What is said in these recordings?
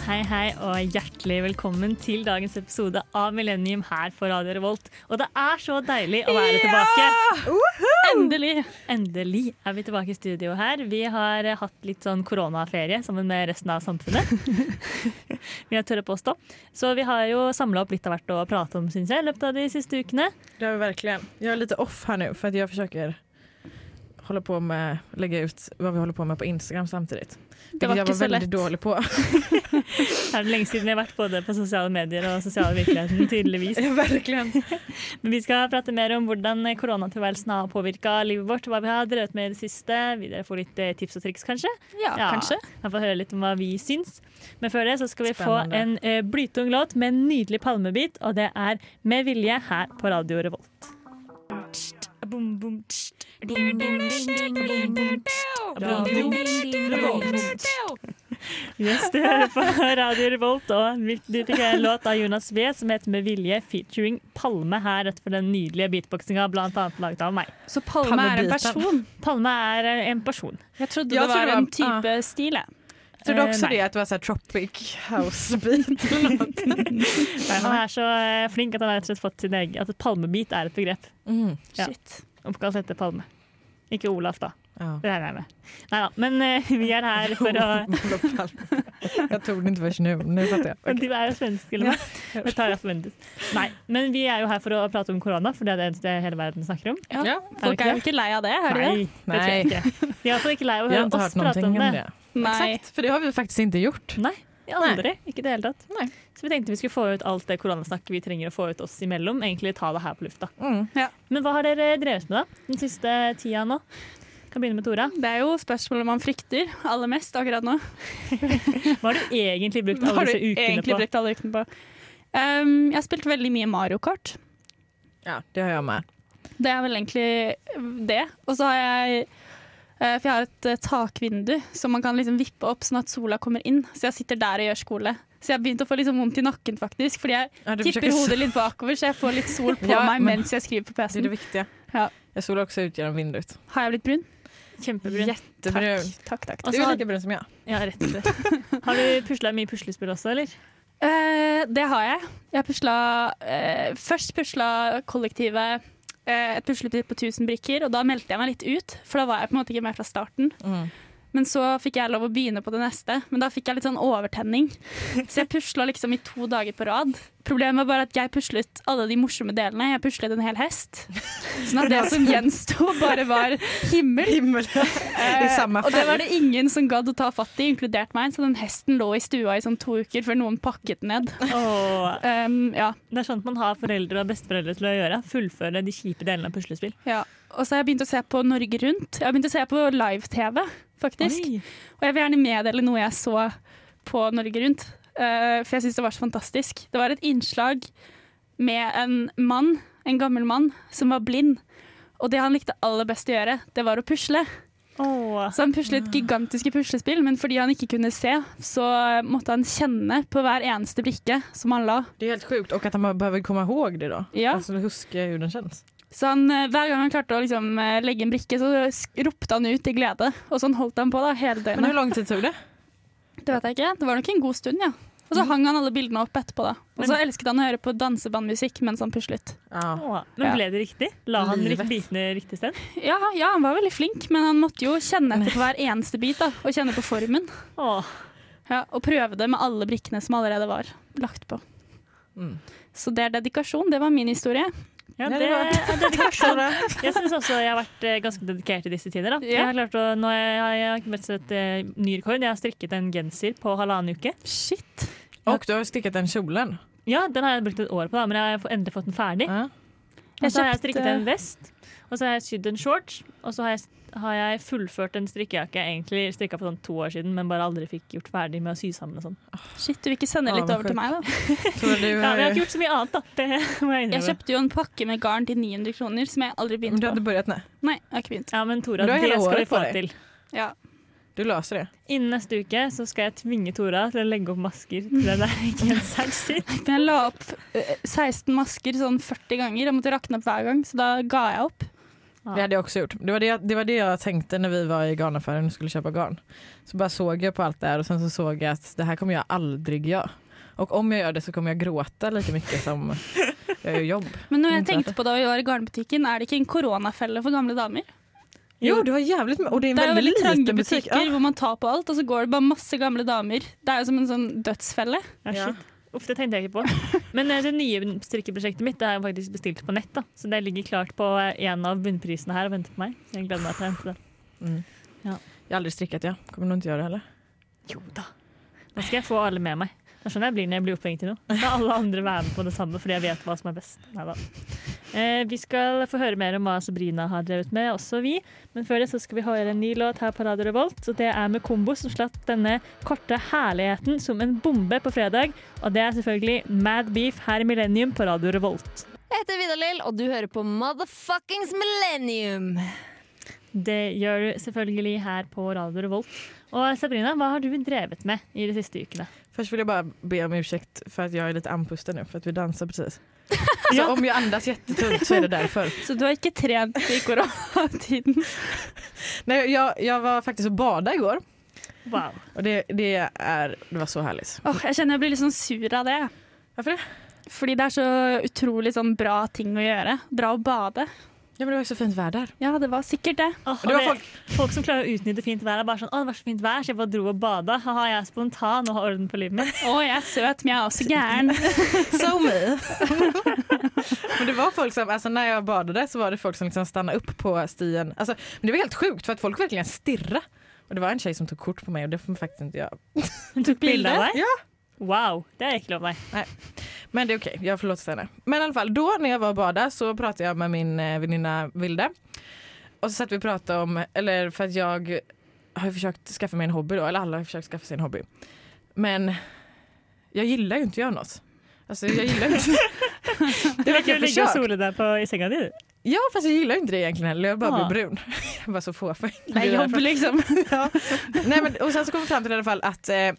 Hei, hei, og hjertelig velkommen til dagens episode av Millennium her på Radio Revolt. Og det er så deilig å være tilbake! Endelig! Endelig er vi tilbake i studio her. Vi har eh, hatt litt sånn koronaferie sammen med resten av samfunnet. vi har tørre påstå. Så vi har jo samla opp litt av hvert å prate om, syns jeg, i løpet av de siste ukene. Det har vi verkligen. Jag är lite off här nu för att jag försöker hålla på med, lägga ut vad vi håller på med på Instagram samtidigt. Det var Vilket jag ikke var så lett. väldigt dårlig på. Det er det lenge siden vi har vært både på sosiale medier og sosiale virkeligheten, tydeligvis. Ja, verkligen. Men vi skal prate mer om hvordan koronatilværelsen har påvirka livet vårt. Hva vi har drevet med i det siste. Vi dere får litt eh, tips og triks, kanskje. Ja, kanskje. Jeg får høre litt om hva vi syns. Men før det så skal vi få Spennende. en eh, blytung låt med en nydelig palmebit, og det er Med vilje her på Radio Revolt. Boom, boom, tst. Yes, du hører på Radio Revolt, og du fikk en låt av Jonas V som heter Med vilje featuring Palme her rett for den nydelige beatboxinga, blant annet laget av meg. Så Palme er Palmebiten. en person? Palme er eh, en person. Jeg trodde Jeg det trodde var det en var- type stil. jeg. Jag trodde Eh, också nej. det att det var så här tropic house beat. Nei, Han er så eh, flink at han har rett og slett fått sin egen At et palmebit er et begrep. Mm. Ja. Shit. Oppkalt etter Palme. Ikke Olaf, da. Ja. Det regner jeg med. Nei da. Men eh, vi er her for å Olof Palme. Jag tog det inte först nu. Nu fattar jag. Men Du er jo svensk, til og med. Det tar jeg for ventet. Nei, men vi er jo her for å prate om korona, for det er det eneste hele verden snakker om. Ja. Ja. Folk ikke er jo ikke lei av det, er de det? Nei, det tror jeg ikke. De er iallfall ikke lei av å Jag har høre inte oss hört prate någonting om det. om det. Exakt, för det har vi faktiskt inte gjort. Nei, aldri. Ikke i det hele tatt. Nei. Så vi tenkte vi skulle få ut alt det koronasnakket vi trenger å få ut oss imellom. Egentlig ta det her på lufta. Mm. Men hva har dere drevet med da, den siste tida nå? Kan begynne med Tora. Det er jo spørsmålet man frykter aller mest akkurat nå. Hva har du egentlig brukt Hva alle har du disse ukene egentlig på? brukt alle ukene på? Um, jeg har spilt veldig mye Mario Kart. Ja, det har jag med. Det er vel egentlig det. Og så har jeg eh, For jeg har et eh, takvindu som man kan liksom vippe opp sånn at sola kommer inn. Så jeg sitter der og gjør skole. Så jeg har begynt å få litt sånn vondt i nakken, faktisk. Fordi jeg Ja, du tipper försöker- hodet litt bakover, så jeg får litt sol på Ja, meg men- mens jeg skriver på Det är det PC-en. viktiga. Ja. Jag solar också ut genom vindrutan. Har jeg blitt brun? Kjempebrun. Jättebrun. Takk, takk. Og takk. Du så är har- lika brun som jag. Ja, rett og slett. Har du pusla mye puslespill også, eller? Eh, det har jeg. Jeg har pusla eh, Først pusla kollektivet eh, et puslespill på 1000 brikker, og da meldte jeg meg litt ut, for da var jeg på en måte ikke med fra starten. Mm. Men så fikk jeg lov å begynne på det neste, men da fikk jeg litt sånn overtenning. Så jeg pusla liksom i to dager på rad. Problemet var bare at jeg puslet alle de morsomme delene. Jeg puslet en hel hest. Sånn at det som gjensto, bare var himmel. Himmel. I samme Eh, og det var det ingen som gadd å ta fatt i, inkludert meg. Så den hesten lå i stua i sånn to uker før noen pakket den ned. Åh, Um, ja. det er sånt man har foreldre og besteforeldre til å gjøre. Fullføre de kjipe delene av puslespill. Ja. Og så har jeg begynt å se på Norge Rundt. Jeg har begynt å se på live-TV, faktisk. Oi. Og jeg vil gjerne meddele noe jeg så på Norge Rundt, eh, for jeg syns det var så fantastisk. Det var et innslag med en mann, en gammel mann, som var blind. Og det han likte aller best å gjøre, det var å pusle. Åh. Så han puslet gigantiske puslespill, men fordi han ikke kunne se, så måtte han kjenne på hver eneste brikke som han la. Det är helt sjukt och att han behöver komma ihåg det då. Ja. Alltså huska hur den känns. Så han, eh, hver gang han klarte å liksom, eh, legge en brikke, så sk- ropte han ut i glede. Og sånn holdt han på da, hele Men hur døgnet. lång tid tog det? Det vet jeg ikke. Det var nok en god stund, ja. Og så hang han alle bildene opp etterpå. da. Og så elsket han å høre på dansebandmusikk mens han puslet. Ja. Åh. Men ble det riktig? La han Livet. rik- bitene riktig sted? Ja, ja, han var veldig flink, men han måtte jo kjenne etter på hver eneste bit. da, Og kjenne på formen. Åh. Ja, og prøve det med alle brikkene som allerede var lagt på. Mm. Så det er dedikasjon. Det var min historie. Ja, Ja, det, det det var- er dedikasjon. Sara. Jeg syns også jeg har vært eh, ganske dedikert i disse tider. Da. Ja. Jeg har klart å, nå har jeg, jeg har ikke meldt sett eh, ny rekord. Jeg har strikket en genser på halvannen uke. Shit. Och du har stickat den kjolen. Ja, Den har jeg brukt et år på, da, men jeg har få- endelig fått den ferdig. Ja. Og så har jeg kjøpte- strikket en vest, og så har jeg sydd en shorts. Og så har jeg, har jeg fullført en strikkejakke jeg egentlig strikka for sånn to år siden, men bare aldri fikk gjort ferdig med å sy sammen og sånn. Shit, du vil ikke sende Ja, litt men over til sjukt. meg, da? Så du, Ja, har men jeg har ju- ikke gjort så mye annet, da. Det må jeg Jeg innrømme. kjøpte jo en pakke med garn til 900 kroner, som jeg aldri Men begynte eh, du på. hade börjat nej. Nei, jeg har ikke begynt. Ja, men Tora, Du har det hele skal vi året på få deg. til. Ja. Du löser det. Innen neste uke så skal jeg tvinge Tora til å legge opp masker til den der genseren sin. Men jeg la opp eh, 16 masker sånn 40 ganger. Jeg måtte rakne opp hver gang, så da ga jeg opp. Det hade jag också gjort. Det var det, jag, det var det jag tänkte när vi var i garnaffären och skulle köpa garn. Så bara såg jag på allt det här och sen så såg jag att det här kommer jag aldrig göra. Och om jag gör det så kommer jag gråta lika mycket som jag gör jobb. Men når jeg Ikke sant? tenkte på det i år i garnbutikken, er det ikke en koronafelle for gamle damer? Jo, du har jävligt med, och det är en Det er jo väldigt veldig trange liten butik. butikker hvor man tar på alt, og så går det bare masse gamle damer. Det er jo som en sånn dødsfelle. Ja, Ja. shit. Uff, det tenkte jeg ikke på. Men eh, det nye strikkeprosjektet mitt det har jeg faktisk bestilt på nett. da. Så det ligger klart på eh, en av bunnprisene her og venter på meg. Så jeg gleder meg til å hente det. Ja. Mm. Ja. Jag har aldrig strickat jag. Kommer nog inte göra det heller. Jo da. Da skal jeg få alle med meg. Det er sånn jeg blir når jeg blir opphengt i noe. Da skal alle andre være med på det samme, fordi jeg vet hva som er best. Neida. Eh, vi skal få høre mer om hva Sabrina har drevet med, også vi. Men før det så skal vi høre en ny låt her på Radio Revolt. Og det er med Kombo som slapp denne korte herligheten som en bombe på fredag. Og det er selvfølgelig Mad Beef her i Millennium på Radio Revolt. Jeg heter Vidar-Lill, og du hører på Motherfuckings Millennium. Det gjør du selvfølgelig her på Radio Revolt. Og Sabrina, hva har du drevet med i de siste ukene? Först vill jag bara be om ursäkt för att jag är lite andpusten nu för att vi dansar precis. Så om jag andas jättetunt så är det därför. Så du har ikke trent i koronatiden. Nej, jag, jag var faktiskt och badade igår Wow. och det, det, är, det var så härligt. Åh, jeg kjenner jeg blir litt sånn sur av det. Varför det? Fordi det er så utrolig sånn bra ting å gjøre. Dra og bade. Ja, men det var ju så fint väder. Ja, det var sikkert det. Åh, Det og var folk, Folk som klarer å utnytte fint vær, er bare sånn 'Å, det var så fint vær, så jeg bare dro og bada'. Haha, jeg er spontan og har orden på livet mitt. Å, jeg er søt, men jeg er også gæren. So me. men det var folk som, alltså när jag badade så var det folk som liksom stannade upp på stien. Alltså, men det var helt sjukt för att folk verkligen stirrade. Och det var en tjej som tog kort på mig og det får faktiskt inte jag. Hun tok bilde av deg? Ja. Wow, det har jeg ikke lov meg. Men det är okej, jag förlåter henne. Men i alla fall, då när jag var och badade så pratade jag med min eh, väninna Vilde. Och så satt vi och pratade om, eller för att jag har ju försökt skaffa mig en hobby då, eller alla har försökt skaffa sig en hobby. Men jag gillar ju inte att göra något. Alltså Altså, jeg gillar ju inte... Du liker å verkligen ligge og försök. sole deg på, i senga di, du. Ja fast jag gillar ju inte det egentligen heller, jag bara Ja. blir brun. Jag bara så fåfäng. Det er jobb, liksom. Ja. Nej, men, och sen så kom vi fram till i alla fall att eh,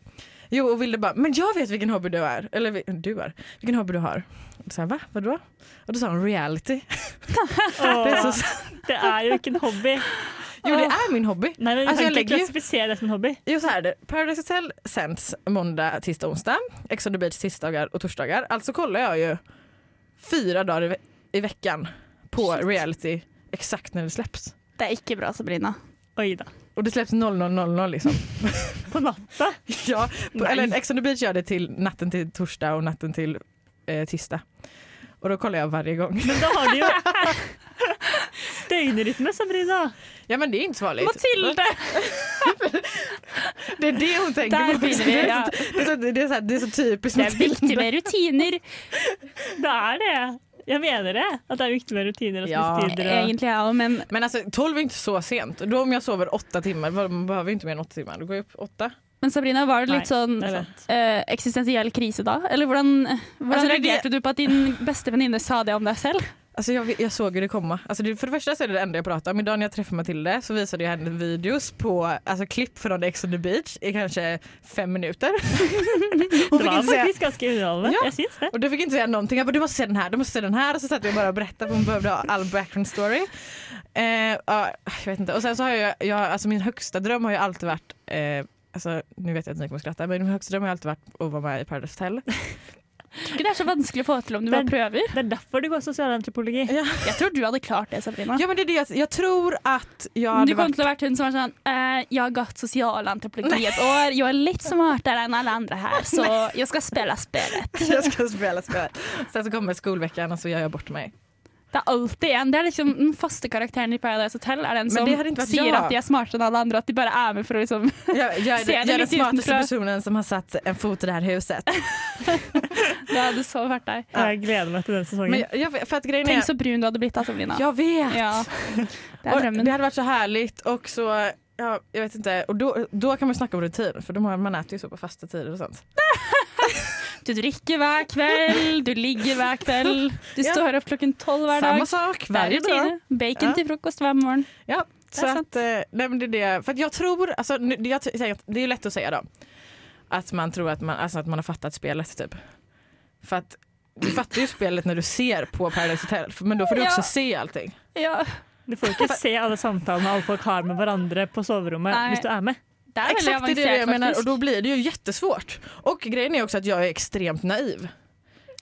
Jo och Vilde bara, men jag vet vilken hobby du är. Eller vi- du är. Vilken hobby du har. Och då sa jag, va? Vadå? Och då sa hon reality. Åh, Det är så det er jo ikke en hobby. Jo det är min hobby. Nei, men Du Altså, kan jeg ikke legger jo- klassifisere det som en hobby. Jo så här är det. Paradise Hotel sänds måndag, tisdag, onsdag. Ex on the beach tisdagar och torsdagar. Alltså kollar jag ju fyra dagar i, ve i veckan på reality exakt när det släpps. Det er ikke bra, Sabrina. Oi da. Och det släpps 00.00 liksom. På natta. ja, på, Nej. eller Ex on the beach gör det till natten till torsdag och natten till eh, tisdag. Och då kollar jag varje gång. Men da har du jo døgnrytme, Sabrina. Ja men det är inte så farligt. Mathilde! Det är det hon tänker Der på. begynner vi. Ja. Det, är så, det, är så här, det är så typiskt Det er viktig Matilda. med rutiner. Det er det. Jeg mener det. At det er viktig med rutiner og Ja. spissetider. og- Egentlig, ja, men Men altså, alltså 12 är inte så sent. Då om jag sover åtta timmar, vad- man behöver ju inte mer än åtta timmar. Då går jag upp åtta. Men Sabrina, var det litt Nei, sånn det er sant. eh, eksistensiell krise da? Eller hvordan, hvordan Altså, det- reagerte du på at din beste venninne sa det om deg selv? Alltså jag, jag såg ju det komma. Alltså det, för det första så är det det enda jag pratar om. Idag när jag träffade Matilda så visade jag henne videos på, alltså klipp från Ex on the beach i kanske fem minuter. Hon Det fick var inte säga, faktisk ganske underholdende. Ja. Jeg syns det. och du fick inte säga någonting. Jag bara, du måste se den här, du måste se den här. Och så satt jag bara och berättade för hon behövde ha all background story. Eh, ja, jag vet inte. Och sen så har jag, jag alltså min högsta dröm har ju alltid varit, eh, alltså nu vet jag att ni kommer skratta, men min högsta dröm har ju alltid varit att vara med i Paradise Hotel. Tror ikke det er så vanskelig å få til om du bare Men- prøver. Det er derfor du går sosialantropologi. Jeg tror du hadde klart det, Sabrina. Ja men det är det, jag- jeg tror at jag du hade kom varit til å ha vært hun som var sånn eh, Jeg har gått sosialantropologi et år. Jeg er litt smartere enn alle andre her, så jeg skal spille spillet. Jag ska spela spel. Sen så kommer skolveckan och så gör jag bort mig. Det er alltid en. Det er liksom Den faste karakteren i Paradise Hotel er den Men som det hadde ikke vært sier jeg. at de er smartere enn alle andre, at de bare er med for å liksom Jag, jag är, Ser jag det är den lite smartaste utifrån. personen som har satt en fot i det här huset. Det hadde så vært deg. Jeg gleder meg til den sesongen. Men jeg, jag, för att grejen Tenk är, så brun du hadde blitt da, Sabrina. jag vet! Ja. Det Och er drømmen. det hade varit så härligt och så, ja, jag vet inte. Och då, då kan man snacka om rutin för de har, man äter ju så på fasta tider och sånt. Du drikker hver kveld, du ligger hver kveld. Du Ja. står opp klokken tolv hver dag. Samma sak Det er varje dag. rutine. Bacon Ja. til frokost hver morgen. Ja, så är att, eh, nej, men det är det. För att jag tror, alltså, nu, det- jag, tänker att det är ju lätt att säga då. Att man tror att man, alltså, att man har fattat spelet typ. För att du fattar ju spelet när du ser på Paradise Hotel men då får du Ja. också se allting. Ja. Du får ikke se alle samtalene alle folk har med hverandre på soverommet Nei. hvis du er med. Det er veldig Exakt det är avansert, det jag menar och faktisk. då blir det ju jättesvårt. Och grejen är också att jag är extremt naiv.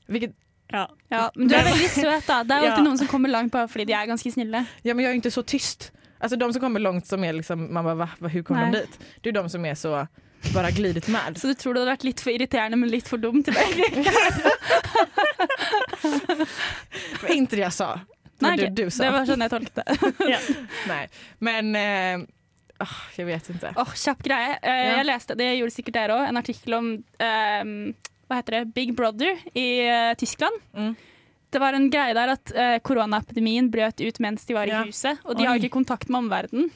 Vilket, Ja. Ja, men du er veldig søt, da. Det er jo Ja. alltid noen som kommer langt bare fordi de er ganske snille. ja men jag är inte så tyst. Alltså de som kommer långt som är liksom, man bara va, va, hur kom de Nej. dit? Det är de som är så, bara glidit med. Så du tror det hadde vært litt for irriterende, men litt for dumt? Men inte det jag sa. Det var Nei, det ok. du sa. det var sånn jeg tolket det. Nej. Men, eh, ah, jag vet inte. Åh, Kjapp greie. Eh, Ja. Jeg leste det gjorde sikkert dere òg, en artikkel om ehm, hva heter det? Big Brother i eh, Tyskland. Mm. Det var en greie der at eh, koronaepidemien brøt ut mens de var i Ja. huset, og de Oi. har ikke kontakt med omverdenen.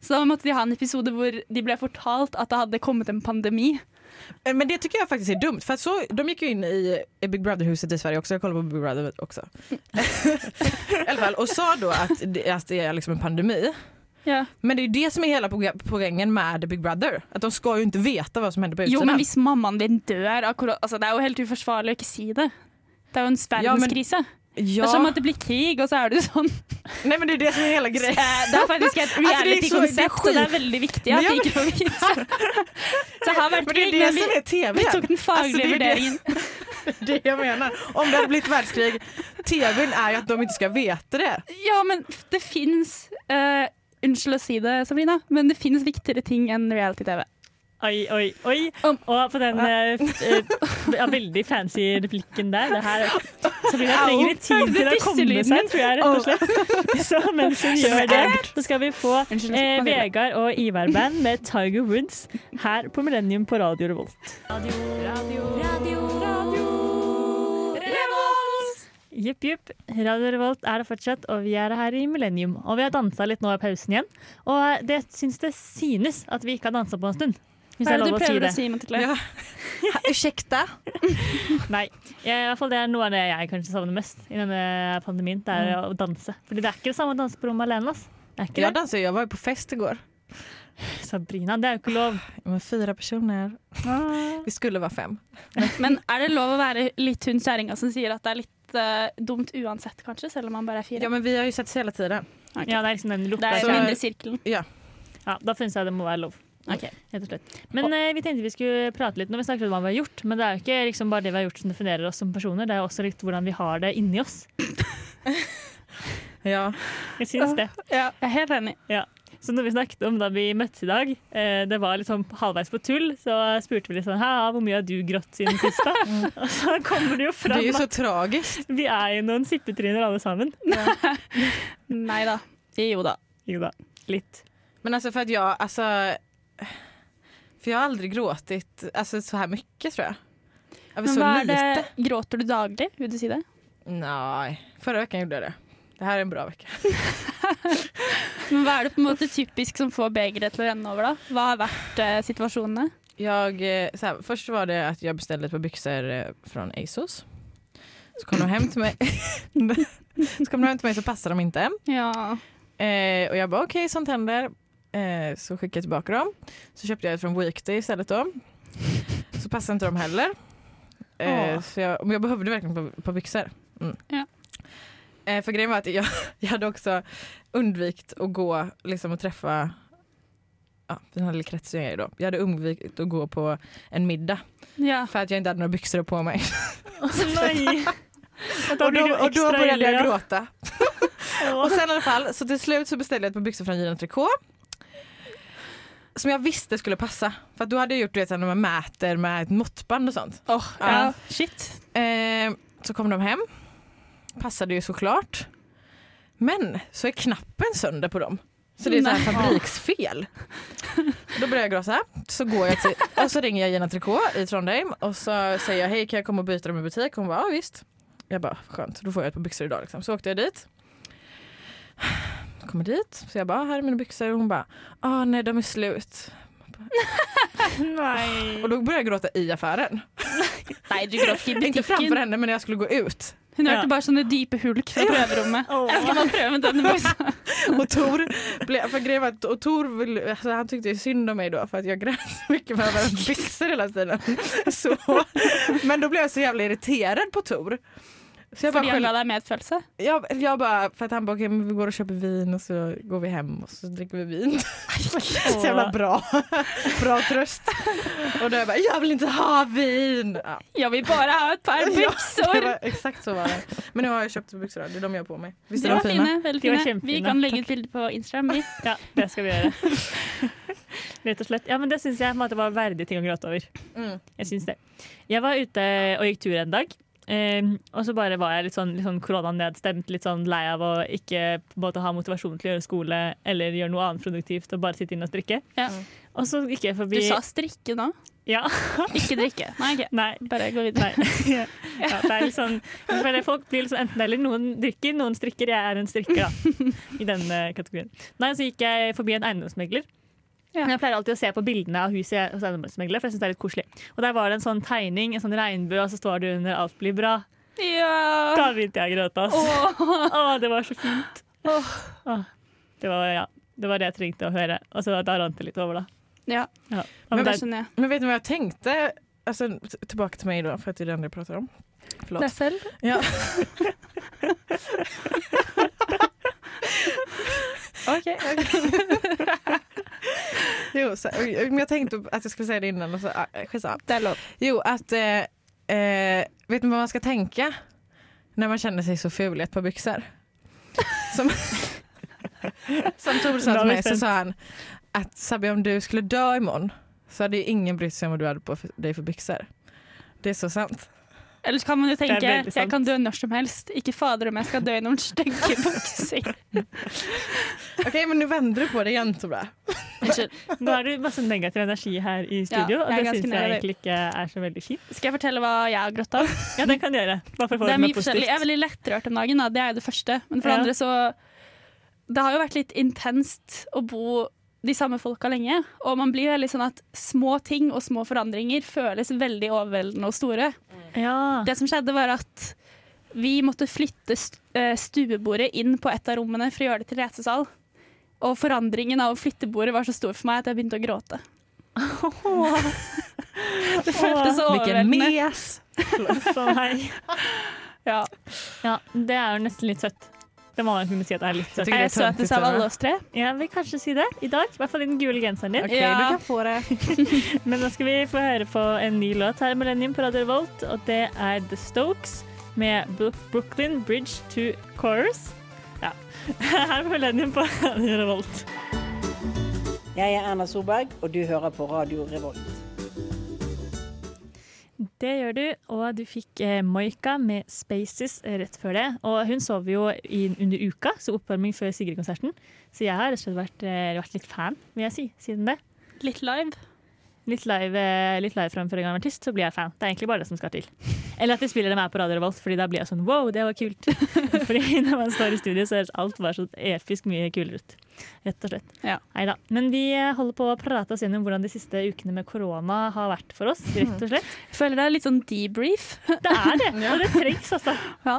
Så da måtte de ha en episode hvor de ble fortalt at det hadde kommet en pandemi. Eh, Men det tycker jag faktiskt är dumt. För att så, de gick ju in i eh, Big Brother-huset i Sverige också. Jag kollar på Big Brother också. I alla fall, och sa då att det, att det är liksom en pandemi. Ja. Men det är ju det som är hela poga- poängen med Big Brother. Att de ska ju inte veta vad som händer på Jo, utsidan. men hvis mammaen din dør av korona altså, Det er jo helt uforsvarlig å ikke si det. Det er jo en Ja, men- verdenskrise. Det ja. er som at det blir krig, og så er du sånn. Nej men det är det som är hela Eh, grejen. Det er faktisk et det er reality-konsept, skit. og det er veldig viktig at Men ja, vi ikke får vite. Så det har vært Men det krig, är det men som vi, är tv. vi tok den Alltså, Altså, det faglige är det- vurderingen. Det jag menar. Om det hade blivit världskrig, tvn är ju att de inte ska veta det. Ja, men det fins Unnskyld å si det, Sabrina, men det fins viktigere ting enn reality-TV. Oi, oi, oi. Om- Og på den eh, f- eh, ja, veldig fancy replikken der det her, Sabrina Au. trenger litt tid til å komme Disselyden seg, tror jeg, rett og slett. Så mens hun gjør det, så skal vi få Unnskyld, eh, Matilda. Vegard og Ivar-band med Tiger Woods her på Millennium på Radio Revolt. Jupp, jupp. Radio Revolt er det fortsatt, og vi er her i Millennium. Og vi har dansa litt nå i pausen igjen, og det syns det synes at vi ikke har dansa på en stund. Hvis det Hva er er det du lov å si prøver å det. si, Matilde? Ja. Ursäkta? Nei. Jeg, i hvert fall Det er noe av det jeg kanskje savner mest i denne pandemien. Det er Mm. å danse. Fordi det er ikke det samme å danse på rommet alene. Ass. Det er ikke Jag dansade, jag var ju på fest igår. det. Sabrina, det er jo ikke lov. Med fyra personer. Ah, Vi skulle vara fem. Men er det lov å være litt hun kjerringa som sier at det er litt eh, dumt uansett, kanskje, selv om man bare er Ja fire? men vi har ju sett hela tiden. Ok. Ja, det er liksom den Det lukta. er Så- den indre sirkelen. Ja, da syns jeg det må være lov. Ok. Rett og slett. Men eh, vi tenkte vi skulle prate litt når vi snakker om hva vi har gjort. Men det er jo ikke liksom bare det vi har gjort som definerer oss som personer. Det er jo også litt hvordan vi har det inni oss. Ja. Jeg synes det. Jeg er helt enig. Så når vi snakket om da vi møttes i dag, eh, det var liksom halvveis på tull, så spurte vi litt sånn Hæ, hvor mye har du grått siden sist, da? Og så kommer det jo Det fram är ju at så tragiskt. Vi er jo noen sippetryner alle sammen. Nei da. Jo da. Jo da, litt. Men alltså för att jag, alltså. För jag har aldrig gråtit alltså, så här mycket tror jag. Över Men så hva er lite. det, gråter du daglig? Vil du si det? Nej, förra veckan gjorde jag det. Det här är en bra vecka. Men hva er det på en måte typisk som får begeret til å renne over, da? Hva har vært eh, situasjonene? Jag, eh, så här, först var det att jag beställde ett par byxor eh, från ASOS. Så kom de hem till mig. så kom de hem till mig så passade de inte. Ja. Eh, och jag bara okej, sånt händer. Eh, så skickade jag tillbaka dem. Så köpte jag ett från Weekday istället då. Så passade inte de heller. Eh, Åh. så jag, men jag behövde verkligen på, på byxor. Mm. Ja. Eh, för grejen var att jag, jag hade också undvikit att gå liksom, och träffa Ja, den här lilla kretsen jag är i då. Jag hade undvikit att gå på en middag ja. för att jag inte hade några byxor på mig. Nei! Og da Och blir då, du och då ekstra började ille, jag ja. gråta. Och Åh, sen i alla fall, så till slut så beställde jag ett par byxor från Gina Tricot. Som jag visste skulle passa. För att då hade jag gjort du vet, när man mäter med ett måttband och sånt. Åh, ja. Ja. Shit. Eh, så kom de hem. Passade ju såklart. Men så är knappen sönder på dem. Så det är så här Nej. fabriksfel. Då börjar jag gråta. Så går jag till, och så ringer jag Gina Tricot i Trondheim och så säger jag hej kan jag komma och byta dem i butik? Hon bara ja visst. Jag bara skönt, då får jag ett par byxor idag liksom. Så åkte jag dit. Kommer dit, så jag bara här är mina byxor och hon bara ah nej de är slut. nei. Och då började jag gråta i affären. Nei, du gråt ikke i Inte framför butikken. henne men när jag skulle gå ut. Hun Ja. hørte bare sånne dype hulk fra prøverommet. Åh. Jeg skal bare prøve med denne buksa. Och Tor, ble, för grejen var att, och Tor ville, alltså, han tyckte ju synd om mig då för att jag grät så mycket för hans byxor hela tiden. Så, men då blev jag så jävla irriterad på Tor. Så jag bara, Fordi han ga själv, deg medfølelse? jag, jag bara, för att han bara, okej men vi går och köper vin och så går vi hem och så dricker vi vin. så jävla bra. bra tröst. Och då jag bara, jag vill inte ha vin! Ja. Jeg vil bare ha et par Ja, det byksor! var, exakt så var det. Men nu har jag köpt byxor, då. det är de jag har på mig. Visst är de De var fina? fine. Veldig De var fine. Vi kjempefine. kan legge ut bilde på Instagram. Vi. Ja, det skal vi gjøre. Rett og slett. Ja, men det syns jeg på en måte, var verdige ting å gråte over. Mm. Jeg syns det. Jeg var ute og gikk tur en dag. eh, og så bare var jeg litt sånn, litt sånn koronanedstemt, litt sånn lei av å ikke på en måte, ha motivasjon til å gjøre skole eller gjøre noe annet produktivt og bare sitte inne og strikke. Ja. Og så gikk jeg Du forbi sa strikke nå, Ja, ikke drikke. Nei, ok. nei. Bare gå videre. Nei. Ja, det er litt sånn, jeg føler folk blir liksom enten eller. Noen drikker, noen strikker. Jeg er en strikker, da. I den eh, kategorien. Nei, så gikk jeg forbi en eiendomsmegler. Ja. Men Jeg pleier alltid å se på bildene av huset hos eiendomsmeglere, for jeg synes det er litt koselig. Og der var det en sånn tegning, en sånn regnbue, og så står det under 'alt blir bra'. Ja! Da begynte jeg å gråte, ass. Åh. Å, det var så fint. Åh. Det var, ja. Det var det jeg trengte å høre. Og så da rant det litt over, da. Ja, Ja. men Men det der, skjønner jeg. Men vet ni vad jag tänkte? Alltså, t- tillbaka til meg da, for at det er den jeg prater om. Förlåt. Deg selv? Ja. OK. Jo, så, men jag tänkte att jag skulle säga det innan och så, ah, skitsamma. Det er lov. Jo, att eh, eh, vet ni vad man ska tänka när man känner sig så ful i ett par byxor? Som, som Då Tor sa till har vi mig så spänt. sa han att Sabi om du skulle dö imorgon så hade ju ingen brytt sig om vad du hade på för, dig för byxor. Det är så sant. Ellers kan man jo tenke Det er veldig sant. jeg kan dø når som helst. Ikke fader om jeg skal dø i noen stygge bukser. Okej men nu vänder du på det igen så bra. Unnskyld. nå er det masse negativ energi her i studio, jeg er og det ganske syns jeg negativ. egentlig ikke er så veldig fint. Skal jeg fortelle hva jeg har grått av? Ja, det kan du gjøre. Bare for å få Det det er mye med forskjellig. Jeg er positivt. veldig lettrørt om dagen, da. det er jo det første. Men for det Ja. andre så Det har jo vært litt intenst å bo de samme folka lenge. Og man blir veldig sånn at små ting og små forandringer føles veldig overveldende og store. Ja. Det som skjedde, var at vi måtte flytte st- eh, stuebordet inn på et av rommene for å gjøre det til lesesal. Og forandringen av å flytte bordet var så stor for meg at jeg begynte å gråte. Det Ah. føltes så Vilken overveldende. mes! For meg. Ja. sånn. ja, det er jo nesten litt søtt. Det må man kunne si at det er litt søtt. Jeg er Jeg er søtest av tømt, alle oss tre. Jeg vil kanskje si det i dag. I hvert fall i den gule genseren din. Okej, Ja. du kan få det. Men nå skal vi få høre på en ny låt her i Millennium på Radio Revolt, og det er The Stokes med Bro- Brooklyn Bridge to Chorus. Ja. Her er Millennium på Radio Revolt. Jeg er Erna Solberg, og du hører på Radio Revolt. Det gjør du, og du fikk eh, Moika med Spaces rett før det. Og hun sov jo i, under uka, så oppvarming før Sigrid-konserten. Så jeg har rett og slett vært, eh, vært litt fan, vil jeg si, siden det. Litt live. Litt live, eh, litt live framføring av en artist, så blir jeg fan. Det er egentlig bare det som skal til. Eller at de spiller dem her på Radio Revolt, fordi da blir jeg sånn wow, det var kult. fordi når man står i studio, så høres alt bare så episk mye kulere ut. Rett og slett. Ja. Neida. Men vi eh, holder på å prate oss gjennom hvordan de siste ukene med korona har vært for oss, rett og slett. Jeg føler det er litt sånn debrief. Det er det, og det trengs, altså. Ja.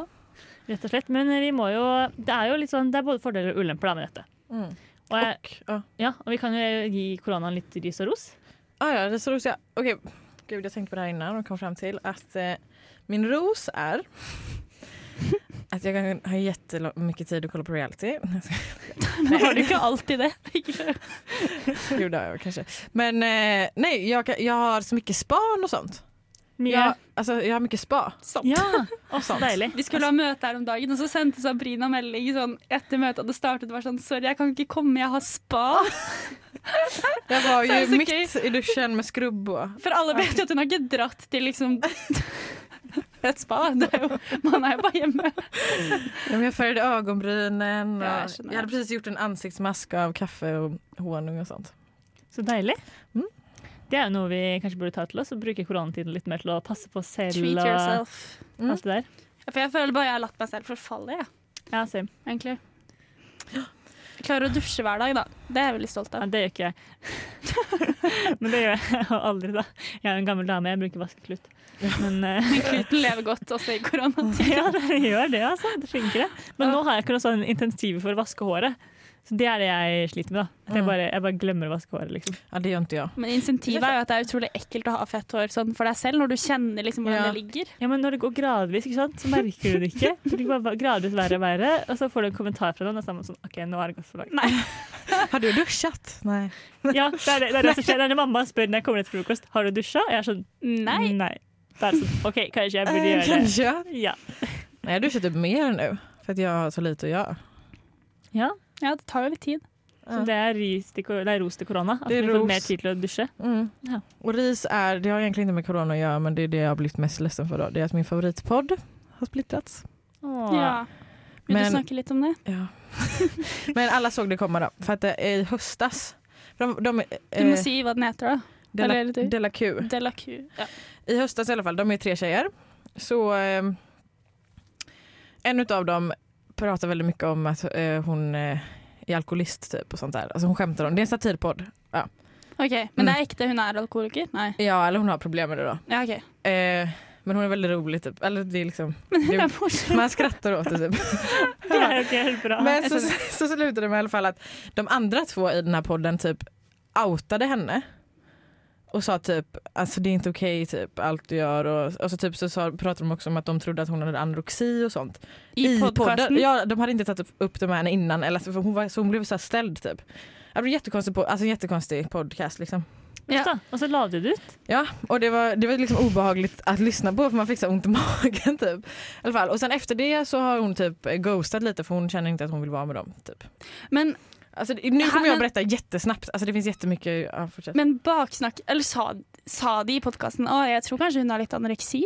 Rett og slett. Men eh, vi må jo Det er jo litt sånn, det er både fordeler og ulemper da med dette. Mm. Og, jeg, Och, ja. ja, og vi kan jo gi koronaen litt ris og ros. Ah, ja, det är så ros jag... Okej, gud jag tänkte på det här innan och kom fram till att eh, min ros är att jag kan ha jättemycket tid att kolla på reality. Men har du ikke alltid det? Ikke- Jo, det har jag kanske. Men eh, nej, jag, kan, jag har så mycket span och sånt. Mye. Jag, altså, jag har mycket spa. Sånn. Ja, og så Sant. deilig. Vi skulle ha møte her om dagen, og så sendte Sabrina melding sånn, etter møtet hadde startet. Var sånn, 'Sorry, jeg kan ikke komme, jeg har spa.' Jag var Så är det ju så mitt i duschen med skrubb och... For alle vet jo at hun har ikke dratt til liksom et spa. Det er jo, man er jo bare hjemme. Ja, men jag färgade ögonbrynen och Ja, jag jag, känner hade precis gjort en ansiktsmask av kaffe och honung och sånt. Så deilig. Mm. Det er jo noe vi kanskje burde ta til oss, og bruke koronatiden litt mer til å passe på oss selv. Treat og yourself. Mm. alt det der. Ja, For jeg føler bare jeg har latt meg selv forfalle, jeg, Ja, same. egentlig. Jeg klarer å dusje hver dag, da. Det er jeg veldig stolt Ja, av. det gjør ikke jeg. Men det gjør jeg aldri, da. Jeg er jo en gammel dame, jeg bruker vaskeklut. Men eh, Kluten lever godt også i koronatid. ja, det gjør det, altså. Det funker, det. Men nå har jeg ikke noe sånn intensiv for å vaske håret. Så det er det jeg sliter med. da. At jeg, bare, jeg bare glemmer å vaske håret. liksom. Ja, det gjør ikke jeg. Men insentivet er jo at det er utrolig ekkelt å ha fett hår sånn for deg selv, når du kjenner liksom hvordan Ja. det ligger. Ja, men Når det går gradvis, ikke sant, så merker du det ikke. Det blir bare gradvis verre og verre, og så får du en kommentar fra noen, og så er man sånn OK, nå har det gått for langt. Har du dusjat? Nei. Ja, det er det, det, er det som skjer. Det er det mamma spør når jeg kommer ned til frokost. Har du dusja? Jeg er sånn Nei. Nei. Da er det sånn OK, kanskje jeg burde Eh, gjøre det. kanskje. Ja. Nej, jag duschar typ mer nu. För att jag har så lite att göra. ja. Ja, det tar jo litt tid. Så det er, ris til, ko- nei, ros til korona. At Det er vi får ros. mer tid til å dusje. Mm. Ja. Och ris är, det har egentligen inte med corona att göra men det är det jag har blivit mest ledsen för då. Det är att min favoritpodd har splittrats. Åh. Ja. Vil Men- du snakke litt om det? Ja. men alla såg det komma då. För att det är i höstas. För De, de, eh, Du må si hva den heter, da. Della, eller du. Della Q. De la Q. Ja. I höstas i alla fall, de är tre tjejer. Så eh, en utav dem pratar väldigt mycket om att eh, hon eh, är alkoholist typ och sånt där. Alltså hon skämtar om det. Det är en satirpodd. OK, men det er ekte hun er alkoholiker? Nei. Ja, eller hon har problem med det då. Ja, OK. Eh, men hon är väldigt rolig typ. Eller det är liksom, Det det, er morsomt. man skrattar åt det typ. Det er ok, helt bra. Men så, så slutade det med i alla fall att de andra två i den här podden typ outade henne. Och sa typ, alltså det är inte okej typ allt du gör. Och, och så typ så sa, pratade de også om att de trodde att hon hade anorexi och sånt. I podkasten? Ja, de hade inte tagit upp- upp det med henne innan. Eller, så- för hon var, så hon blev så här ställd typ. Det blev jättekonstig, po- alltså, en jättekonstig podcast liksom. Uff da. Og så la du det ut. Ja, och det var, det var liksom obehagligt att lyssna på för man fick så här ont i magen typ. I alla fall. Och sen efter det så har hon typ ghostat lite för hon känner inte att hon vill vara med dem typ. Men, Alltså, det- nu kommer Men- jag berätta jättesnabbt. Alltså, det finns jättemycket. Ja, fortsätt. men baksnakk Eller sa, sa de i podkasten Å, jeg tror kanskje hun har litt anoreksi?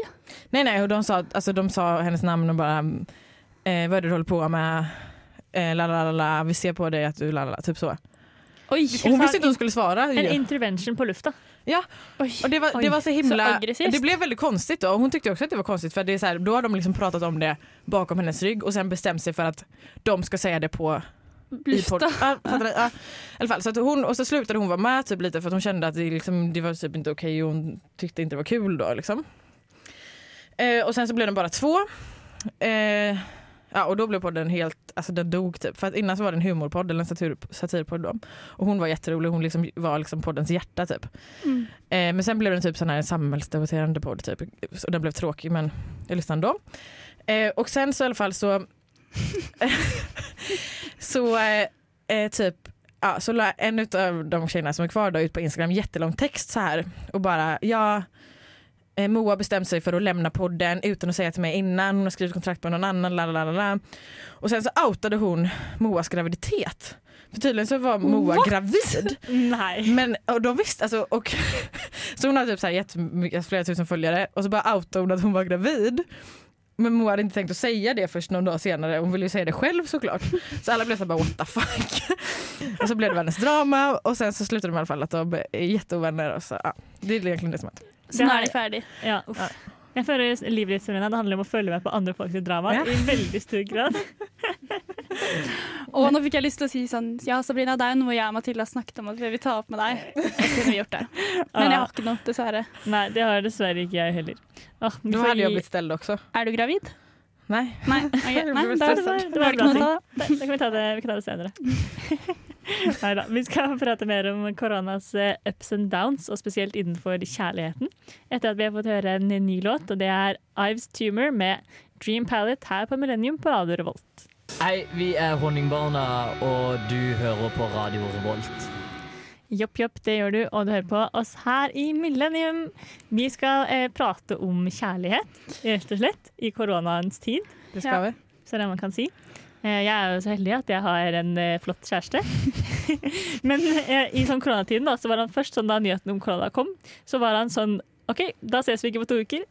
Nej, nej, och de, sa, alltså, de sa hennes namn och bara mm, eh, vad är det du håller på med? Eh, la, la, la, la, vi ser på dig att du la, la, la, typ så. Och Oi! hon visste ikke hon skulle svara. En ju. intervention på lufta. Oi. Och det, var, Oj, det var så himla... så aggressivt. det blev väldigt konstigt då. Och Hon tyckte också att det var konstigt för det är så här, då har de liksom pratat om det bakom hennes rygg och sen bestämt sig för att de ska säga det på i podd- Lufta. Ja, fattar du? Ja. I alla fall, så att hon, och så slutade hon vara med typ lite för att hon kände att det, liksom, det var typ inte okej och hon tyckte inte det var kul då liksom. Eh, och sen så blev de bara två. Eh, ja, och då blev podden helt, alltså den dog typ. För att innan så var det en humorpodd eller en satir, satirpodd då. Och hon var jätterolig, hon liksom var liksom poddens hjärta typ. Mm. Eh, men sen blev den typ sån här samhällsdebatterande podd typ. Så den blev tråkig men jag lyssnade ändå. Eh, och sen så i alla fall så så eh, eh, typ ja, så la en av de tjejerna som är kvar då ut på Instagram jättelång text så här och bara ja eh, Moa bestämt sig för att lämna podden utan att säga till mig innan. Hon har skrivit kontrakt med någon annan. La, la, la, la. Och sen så outade hon Moas graviditet. För tydligen så var Moa gravid. Nei. Men och de visste, alltså, och, så hon hade typ så här jättemycket, flera tusen följare och så bara outade hon att hon var gravid. Men Moa hade inte tänkt att säga det först någon dag senare, hon ville ju säga det själv såklart. Så alla blev så här bara what the fuck. Och så blev det världens drama och sen så slutade de i alla fall att de är jätteovänner. Och så, ja, det är egentligen det som hände. Så nå er de ferdig. Ja, uff. Jeg føler livet ditt Serena, det handler om å følge med på andre folks drama Ja. i veldig stor grad. Og nå fikk jeg lyst til å si sånn Ja, Sabrina, det er jo noe jeg og Mathilde har snakket om at vi vil ta opp med deg. Jeg skulle gjort det. Men jeg har ikke noe, dessverre. Nei, det har dessverre ikke jeg heller. Åh, vi Då får hade jag gi- blivit ställd också. Er du gravid? Nej. Nei. ok, Nei ble Ja, da er det det var, sant. det var en bra ting. Da, da kan vi ta det, vi kan ta det senere. Neida. Vi skal prate mer om koronas eh, ups and downs, og spesielt innenfor kjærligheten. Etter at vi har fått høre en ny låt, og det er Ives Tumor med Dream Palette her på Millennium på Radio Revolt. Hei, vi er Honningbarna, og du hører på Radio Revolt. Jopp, jopp, det gjør du, og du hører på oss her i Millennium. Vi skal eh, prate om kjærlighet, rett og slett, i koronaens tid. Det ska Ja. vi. så det man kan si. Eh, Jeg er jo så heldig at jeg har en eh, flott kjæreste. Men eh, i sånn koronatiden da, så var han først sånn da nyheten om korona kom, så var han sånn OK, da ses vi ikke på to uker.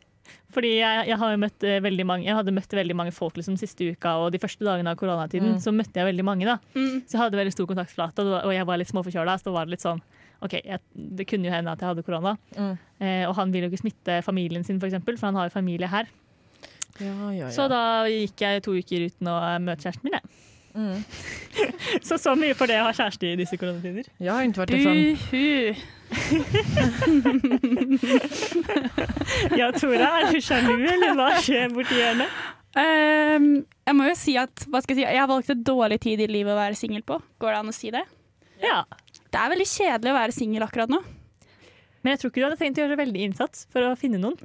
Fordi jeg, jeg, har jo møtt, eh, veldig mange, jeg hadde møtt veldig mange folk liksom, siste uka og de første dagene av koronatiden. Så møtte jeg veldig mange, da. Mm. Så jeg hadde veldig stor kontaktflate, og det var- og jeg var litt småforkjøla. Så da var det litt sånn OK, jeg, det kunne jo hende at jeg hadde korona. Mm. Eh, og han vil jo ikke smitte familien sin, for eksempel, for han har jo familie her. Ja, ja, Så ja. da gikk jeg to uker uten å eh, møte kjæresten min, jeg. Mm. Så så mye for det å ha kjæreste i disse koronatider. Jag har inte varit ifrån. Uhu. Ja, Tora, er du sjalu, eller hva skjer borti hjørnet? Ehm, jeg må jo si at hva skal jeg, si, jeg har valgt et dårlig tid i livet å være singel på. Går det an å si det? Ja. Det er veldig kjedelig å være singel akkurat nå. Men jeg tror ikke du hadde trengt å gjøre veldig innsats for å finne noen.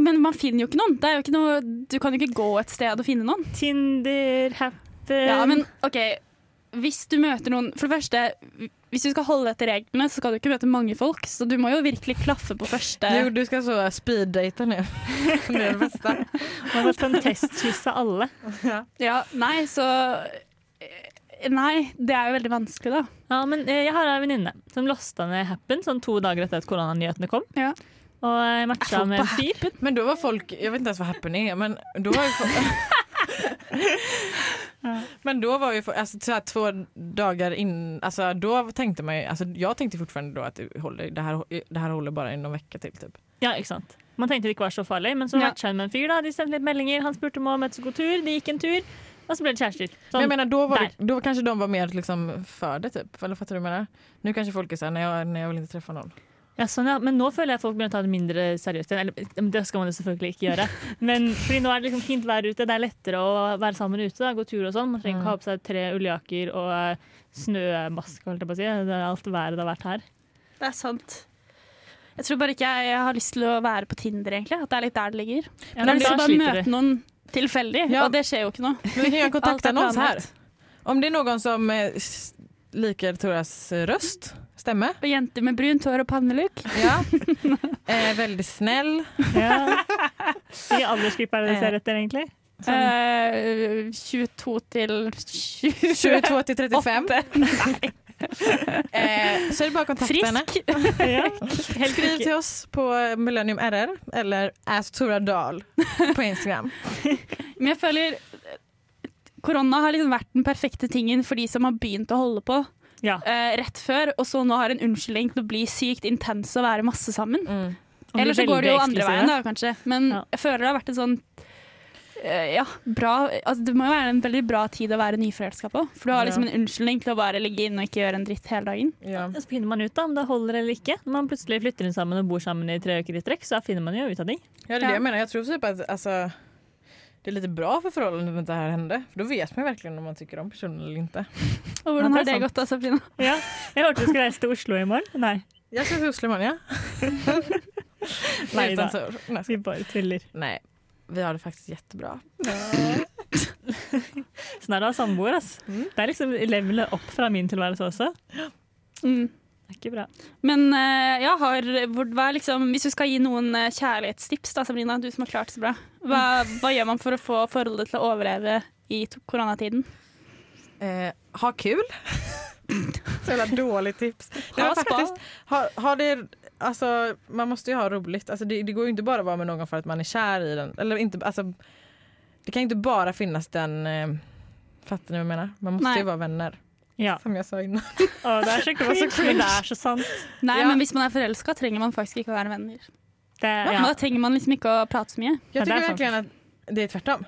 Men man finner jo ikke noen. Det er jo ikke noe, du kan jo ikke gå et sted og finne noen. Tinder, Happen Ja, men OK. Hvis du møter noen For det første, hvis du skal holde etter reglene, så skal du ikke møte mange folk. Så du må jo virkelig klaffe på første Jo, du skal så speeddate nå. Det er det beste. Man har sånn testkyss av alle. Ja, nei, så eh, Nei, det er jo veldig vanskelig, da. Ja, men eh, Jeg har ei venninne som lasta ned Happen sånn to dager etter at koronanyhetene kom. Ja. Og jeg matcha folk med på en fyr. Men da var folk Jeg vet ikke ens hva happening er, men da var jo folk Men då var ju, alltså, så här, två dagar in, alltså, då tänkte altså, man altså, ju, alltså, jag tänkte fortfarande då att det, håller, det, här, det här håller bara i någon vecka till typ. Ja, ikke sant? Man tenkte det ikke var så farlig, men så Ja. matcha hun med en fyr. da De sendte litt meldinger, han spurte om å møtes og gå tur, de gikk en tur, og så ble det kjærester. Men Sånn, jag menar, då, var det, då kanske de var mer liksom, för det typ, eller fattar du vad jag menar? Nu kanske folk är såhär, nej, jag- nej jag vill inte träffa någon. ja, sånn, ja. Men nå føler jeg folk begynner å ta det mindre seriøst igjen. Eller, men det skal man jo selvfølgelig ikke gjøre. Men fordi nå er det liksom fint vær ute, det er lettere å være sammen ute, da, gå tur og sånn. Man trenger ikke Mm. ha på seg tre ulljakker og eh, snømaske, holdt jeg på å si. Det er alt været det har vært her. Det er sant. Jeg tror bare ikke jeg, jeg har lyst til å være på Tinder, egentlig. At det er litt der det ligger. Ja, jeg har men lyst til da å bare sliter møte du. noen tilfeldig, Ja. og det skjer jo ikke noe. Men vi kan göra Allt är kontaktannons här. planlagt. Om det är någon som eh, s- liker Toras röst, stämmer? Og jenter med brunt hår og panneluk. Ja. eh, väldigt snäll. Ja. Hvilken aldersgruppe er det dere ser etter, egentlig? Eh, 22 til 20. 22 till 35. Eh, så är det bara att kontakta henne. Frisk. Ja. Helt Skriv riktig. till oss på Millennium RR eller ask Tora Dahl på Instagram. Men jeg føler korona har liksom vært den perfekte tingen for de som har begynt å holde på Ja. eh, rett før, og så nå har en unnskyldning til å bli sykt intens og være masse sammen. Og Eller så blir går det jo veldig andre eksklusive. veien, da, kanskje. Men Ja. jeg føler det har vært en sånn eh, ja, bra altså, Det må jo være en veldig bra tid å være nyforelska på. For du har liksom en unnskyldning til å bare ligge inne og ikke gjøre en dritt hele dagen. Ja. Så finner man ut da, om det holder eller ikke. Når man plutselig flytter inn sammen og bor sammen i tre uker i strekk, så finner man jo ut av ting. det är det jag menar. Jag tror typ att alltså, det är lite bra för förhållandet om det här hände. För då vet man ju verkligen om man tycker om personen eller inte. Og Ja, det hvordan er har det sant. gått da, Sabrina? Ja. Jeg hørte du skulle reise til Oslo i morgen. Nei, Jag ska till Oslo imorgon, ja. Nej, Utan då. tur. Nej, jag skojar. vi bare tuller. Nej, vi har det faktiskt jättebra. Sånn er det å ha samboer, ass. Det er liksom levelet opp fra min tilværelse også. Mm. Det er ikke bra. Men eh, ja, har, hvor, hva er liksom, hvis du skal gi noen eh, kjærlighetstips, da, Sabrina, du som har klart så bra, hva, hva gjør man for å få forholdet til å overleve i to- koronatiden? Eh, ha kul. Så jävla dåligt tips. Nej, Ha men spa. faktiskt, ha, ha det, alltså, man måste ju ha roligt. Alltså, det, det går ju inte bara att vara med någon för att man är kär i den. Eller inte, alltså, det kan ju inte bara finnas den... Eh, fattar ni vad jag menar? Man måste Nej. ju vara vänner. Ja. Som jeg sa innan. Å, det er så cringe, men det er så sant. Nei, Ja. men hvis man er forelska, trenger man faktisk ikke å være venner. Det, er- ja. Da trenger man liksom ikke å prate så mye. Ja, det Jag er tycker sant. verkligen att det är tvärtom.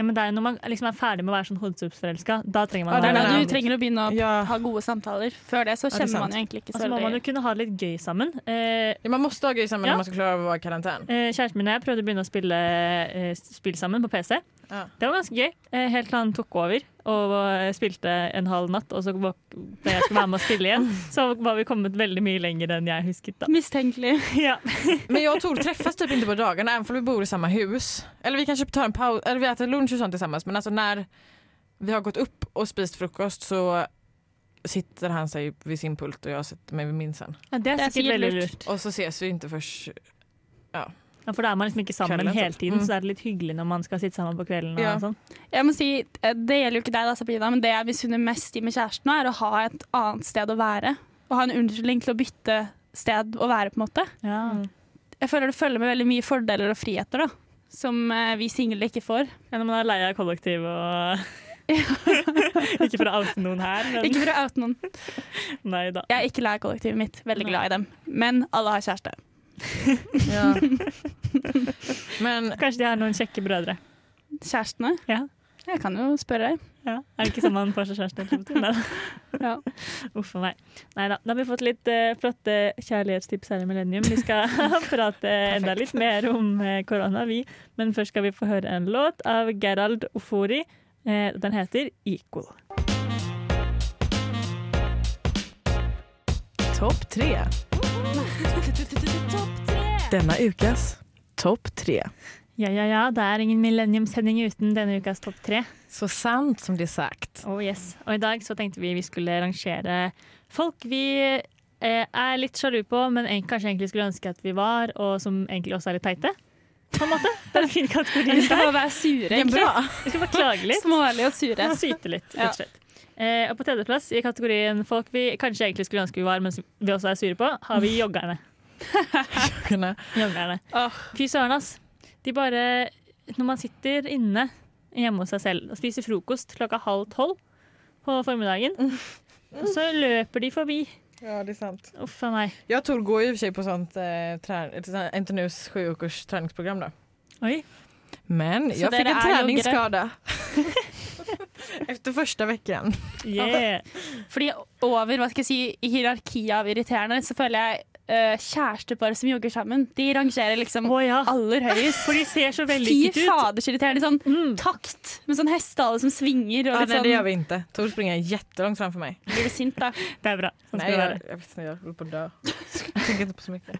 ja, men det er jo når man liksom er ferdig med å være sånn hodestupsforelska, da trenger man Ja, å Det være Nei, er da nei, venner. du trenger å begynne å Ja. ha gode samtaler. Før det så det er kjenner man sant. jo egentlig ikke Og så så må man jo veldig kunne ha det litt gøy sammen. Eh, Ja, man måste ha gøy sammen Ja. när man ska klara av att vara i karantän. Eh, Kjæresten min og jeg prøvde å begynne å spille eh, spill sammen på PC. Ja. Det var ganske gøy, eh, helt til han tok over og eh, spilte en halv natt. Og så våk- da jeg skulle være med å spille igjen, så var vi kommet veldig mye lenger enn jeg husket. da. mistenkelig. Ja. Men jag och Tor träffas typ inte på dagarna även om vi bor i samma hus. Eller vi kanske tar en paus, eller vi äter lunch och sånt tillsammans men alltså när vi har gått upp och spist frukost så sitter han sig vid sin pult och jag sitter mig vid min sen. det er sikkert veldig lurt. Och så ses vi inte först. Ja, for da er man liksom ikke sammen Kvelden, hele sant? tiden, Mm. så er det litt hyggelig når man skal sitte sammen på kvelden. og Ja. sånn. Jeg må si, eh, Det gjelder jo ikke deg, da, Sabrina, men det jeg misunner mest i med kjæresten, nå, er å ha et annet sted å være. Å ha en unnskyldning til å bytte sted å være, på en måte. Ja. Jeg føler det følger med veldig mye fordeler og friheter, da. Som eh, vi single ikke får. Ja, Når man er lei av kollektiv og Ikke for å oute noen her, men Ikke for å oute noen. nei da. Jeg er ikke lei av kollektivet mitt, veldig Nei. glad i dem. Men alle har kjæreste. Men Kanskje de har noen kjekke brødre. Kjærestene? Ja. Jeg kan jo spørre deg. Ja. Er det ikke sånn man får seg kjæreste? eller noe? Neida. Ja. Uff a meg. Nei da. Da har vi fått litt eh, flotte kjærlighetstips her i Millennium. Vi skal prate enda litt mer om eh, korona, vi. Men først skal vi få høre en låt av Gerald Ofori. Eh, den heter 'Equal'. Topp tre. Denne ukas topp tre. Ja, ja, ja. Det er ingen Millennium-sending uten denne ukas topp tre. Så sant som det er sagt. Oh yes. Og i dag så tenkte vi vi skulle rangere folk vi eh, er litt sjalu på, men en- kanskje egentlig skulle ønske at vi var, og som egentlig også er litt teite. På en måte. Det er en fin kategori. Vi skal bare være sure, egentlig. Bra. Vi skal bare klage litt. Smålige og sure. Og syte litt, rett og slett. Eh, og på tredjeplass i kategorien folk vi kanskje egentlig skulle ønske vi var, men som vi også er sure på, har vi joggerne. Kunne- joggerne. Fy søren, ass. De bare Når man sitter inne hjemme hos seg selv og spiser frokost klokka halv tolv på formiddagen, og så løper de forbi. Ja, det er sant. Uff a meg. Jag Tor går ju i och för sig på sånt eh, trän- ett sånt här NTNUs sju veckors träningsprogram då. Oi. Men Så jag där fick en är joggare. träningsskada. Efter första veckan. Yeah. Fordi over hva skal jeg si, i hierarkiet av irriterende, så føler jeg eh, kjærestepar som jogger sammen, de rangerer liksom Å ja. aller høyest. For de ser så Fy vellykket ut. Mm. faders irriterende. Sånn takt med sånn hestehale som svinger, og Ja, litt nej det gör sånn vi inte. Tor springer jättelångt framför mig. Blir du sint, da? Det er bra. Sånn skal Nej det jag, være. jag vet inte, jag håller på att dö. Jag tänker inte på så mycket.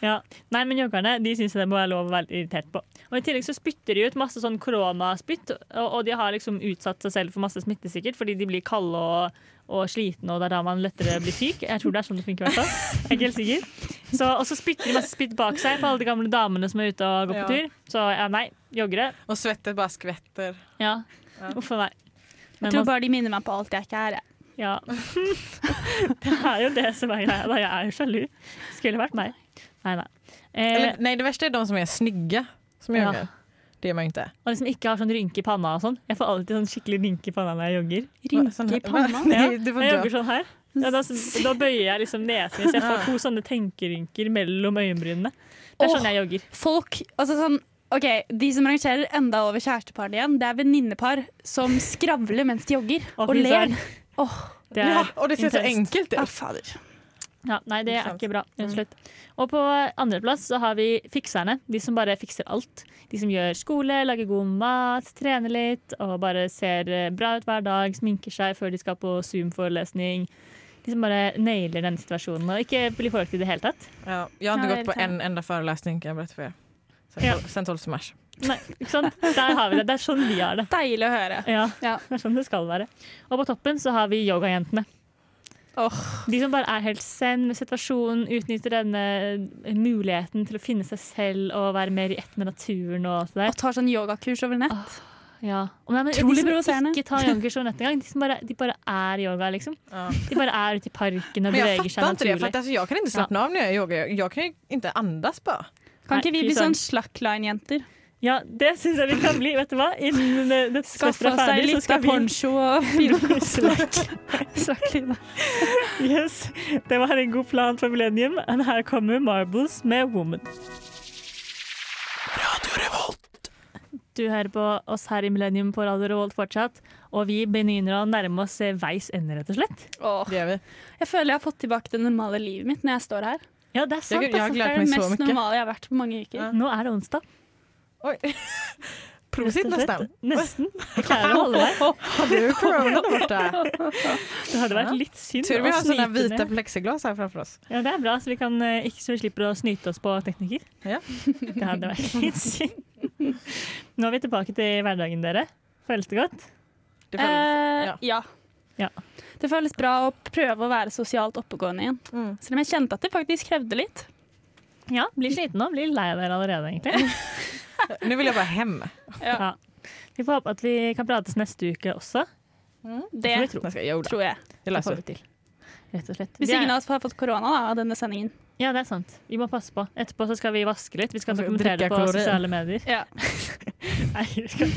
Ja. Nei, men joggerne de syns det må være lov å være irritert på. Og I tillegg så spytter de ut masse sånn koronaspytt, og, og de har liksom utsatt seg selv for masse smitte sikkert, fordi de blir kalde og, og slitne, og det er da man lettere blir syk. Jeg tror det er sånn det funker, i hvert fall. Jeg er ikke helt sikker. Så, og så spytter de masse spytt bak seg på alle de gamle damene som er ute og går Ja. på tur. Så ja, nei, joggere. Och svettet bara skvätter. Ja. Uff a meg. Jeg Men tror man- bare de minner meg på alt jeg ikke er. jeg. ja. Det er jo det som er greia. da. Jeg er jo sjalu. Skulle vært meg. Nei, nei. Eh, Eller, nej det värsta är de som är snygga som Ja. joggar. Det är man ju inte. Og liksom ikke har sånn rynke i panna og sånn. Jeg får alltid sånn skikkelig rynke i panna når jeg jogger. Va- sån sånn här- Rynke i panna. va? Ja, Nej, du får jeg jogger dö. sånn her. Ja, da, da bøyer jeg liksom nesen min, så jeg Ah. får to sånne tenkerynker mellom øyenbrynene. Det er Åh. sånn jeg jogger. Folk altså sånn, ok, De som rangerer enda over kjærestepar igjen, det er venninnepar som skravler mens de jogger, Å, og fy ler. søren. Åh, Det er Ja, och det ser så intenst. enkelt ja, ut. fader. Ja, nei, det er Ikke sant. ikke bra, Mm. rett og slett. Og på andreplass så har vi fikserne. De som bare fikser alt. De som gjør skole, lager god mat, trener litt og bare ser eh, bra ut hver dag, sminker seg før de skal på Zoom-forelesning. De som bare nailer denne situasjonen og ikke blir forelagt i det hele tatt. Ja, jag har Ja, inte det är gått på lite- en enda föreläsning kan jag berätta för er. Sen, Ja. sen 12 mars. Nei, ikke sant? Der har vi det. Det er sånn vi har det. Deilig å høre. Ja, Ja. det er sånn det skal være. Og på toppen så har vi yogajentene. Åh. De som bare er helt zen med situasjonen, utnytter denne muligheten til å finne seg selv og være mer i ett med naturen og alt det der. Og tar sånn yogakurs over nett. Ja. Og nei, men Utrolig de som provoserende. ikke tar yoga som nett engang, de, som bare, de bare er yoga, liksom. Ja. De bare er ute i parken og Men jag beveger seg fattar inte det, för naturlig. att, alltså, jag kan inte slappna av när jag yogar. Jag, jag kan ju inte andas bara. Kan ikke Nei, vi fy bli søren. sånn slackline-jenter? Ja, det syns jeg vi kan bli. Vet du hva? Innen eh, dette Skaffe semesteret oss er ei ferdig, så lita skal vi poncho og Slack. slackline. Yes, Det var en god plan for Millennium. Og her kommer Marbles med Woman. Du hører på oss her i Millennium på Radio Revolt fortsatt, og vi begynner å nærme oss eh, veis ende, rett og slett. Åh. Det gör vi. Jeg føler jeg har fått tilbake det normale livet mitt når jeg står her. Ja, det er sant. Jeg- jeg har altså. Det gledet er meg det så mest mye. normale jeg har vært på mange uker. Ja. Nå er det onsdag. Oj. rett Prosit og slett. nästan. Nesten. Jeg klarer å holde meg. Har du corona där borta? Det hadde vært litt synd Tur vi å har sådana snyte vita ned. plexiglas här framför oss. Ja, det er bra, så vi, kan, eh, ikke, så vi slipper å snyte oss på teknikker. Ja. Det hadde vært litt synd. Nå er vi tilbake til hverdagen, dere. Føles det godt? Det får- Eh, Ja. ja. Ja. Det føles bra å prøve å være sosialt oppegående igjen. Mm. Selv om jeg kjente at det faktisk krevde litt. Ja, blir sliten nå. Blir lei av dere allerede, egentlig. Eh, Nu vill jag bara hem. Ja. Vi får håpe at vi kan prates neste uke også. Det Mm, får vi tro. Jag ska jag tror jeg. Det Jag får löser vi til. Rett og slett. Hvis Det er- ingen av oss har fått korona da, av denne sendingen. Ja, det er sant. Vi må passe på. Etterpå så skal vi vaske litt. Vi skal Og så dokumentere det drikke på kalorier. sosiale medier. Ja. Nei, vi skal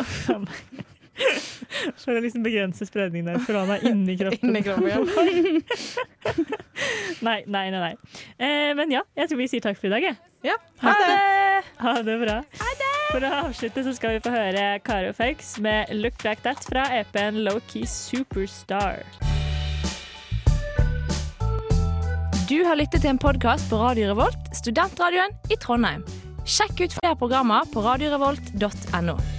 Uff a meg. For å liksom begrense spredningen av korona inni det. kroppen. In i kroppen. Nei, nei, nei. nei. Eh, men ja, jeg tror vi sier takk for i dag, jeg. Ja, ha det! Ha det bra. Ha det! For å avslutte så skal vi få høre Karo Faux med 'Look Like That' fra E EP-en Lowkey Superstar. Du har lyttet til en podkast på Radio Revolt, studentradioen i Trondheim. Sjekk ut flere programmer på radiorevolt.no.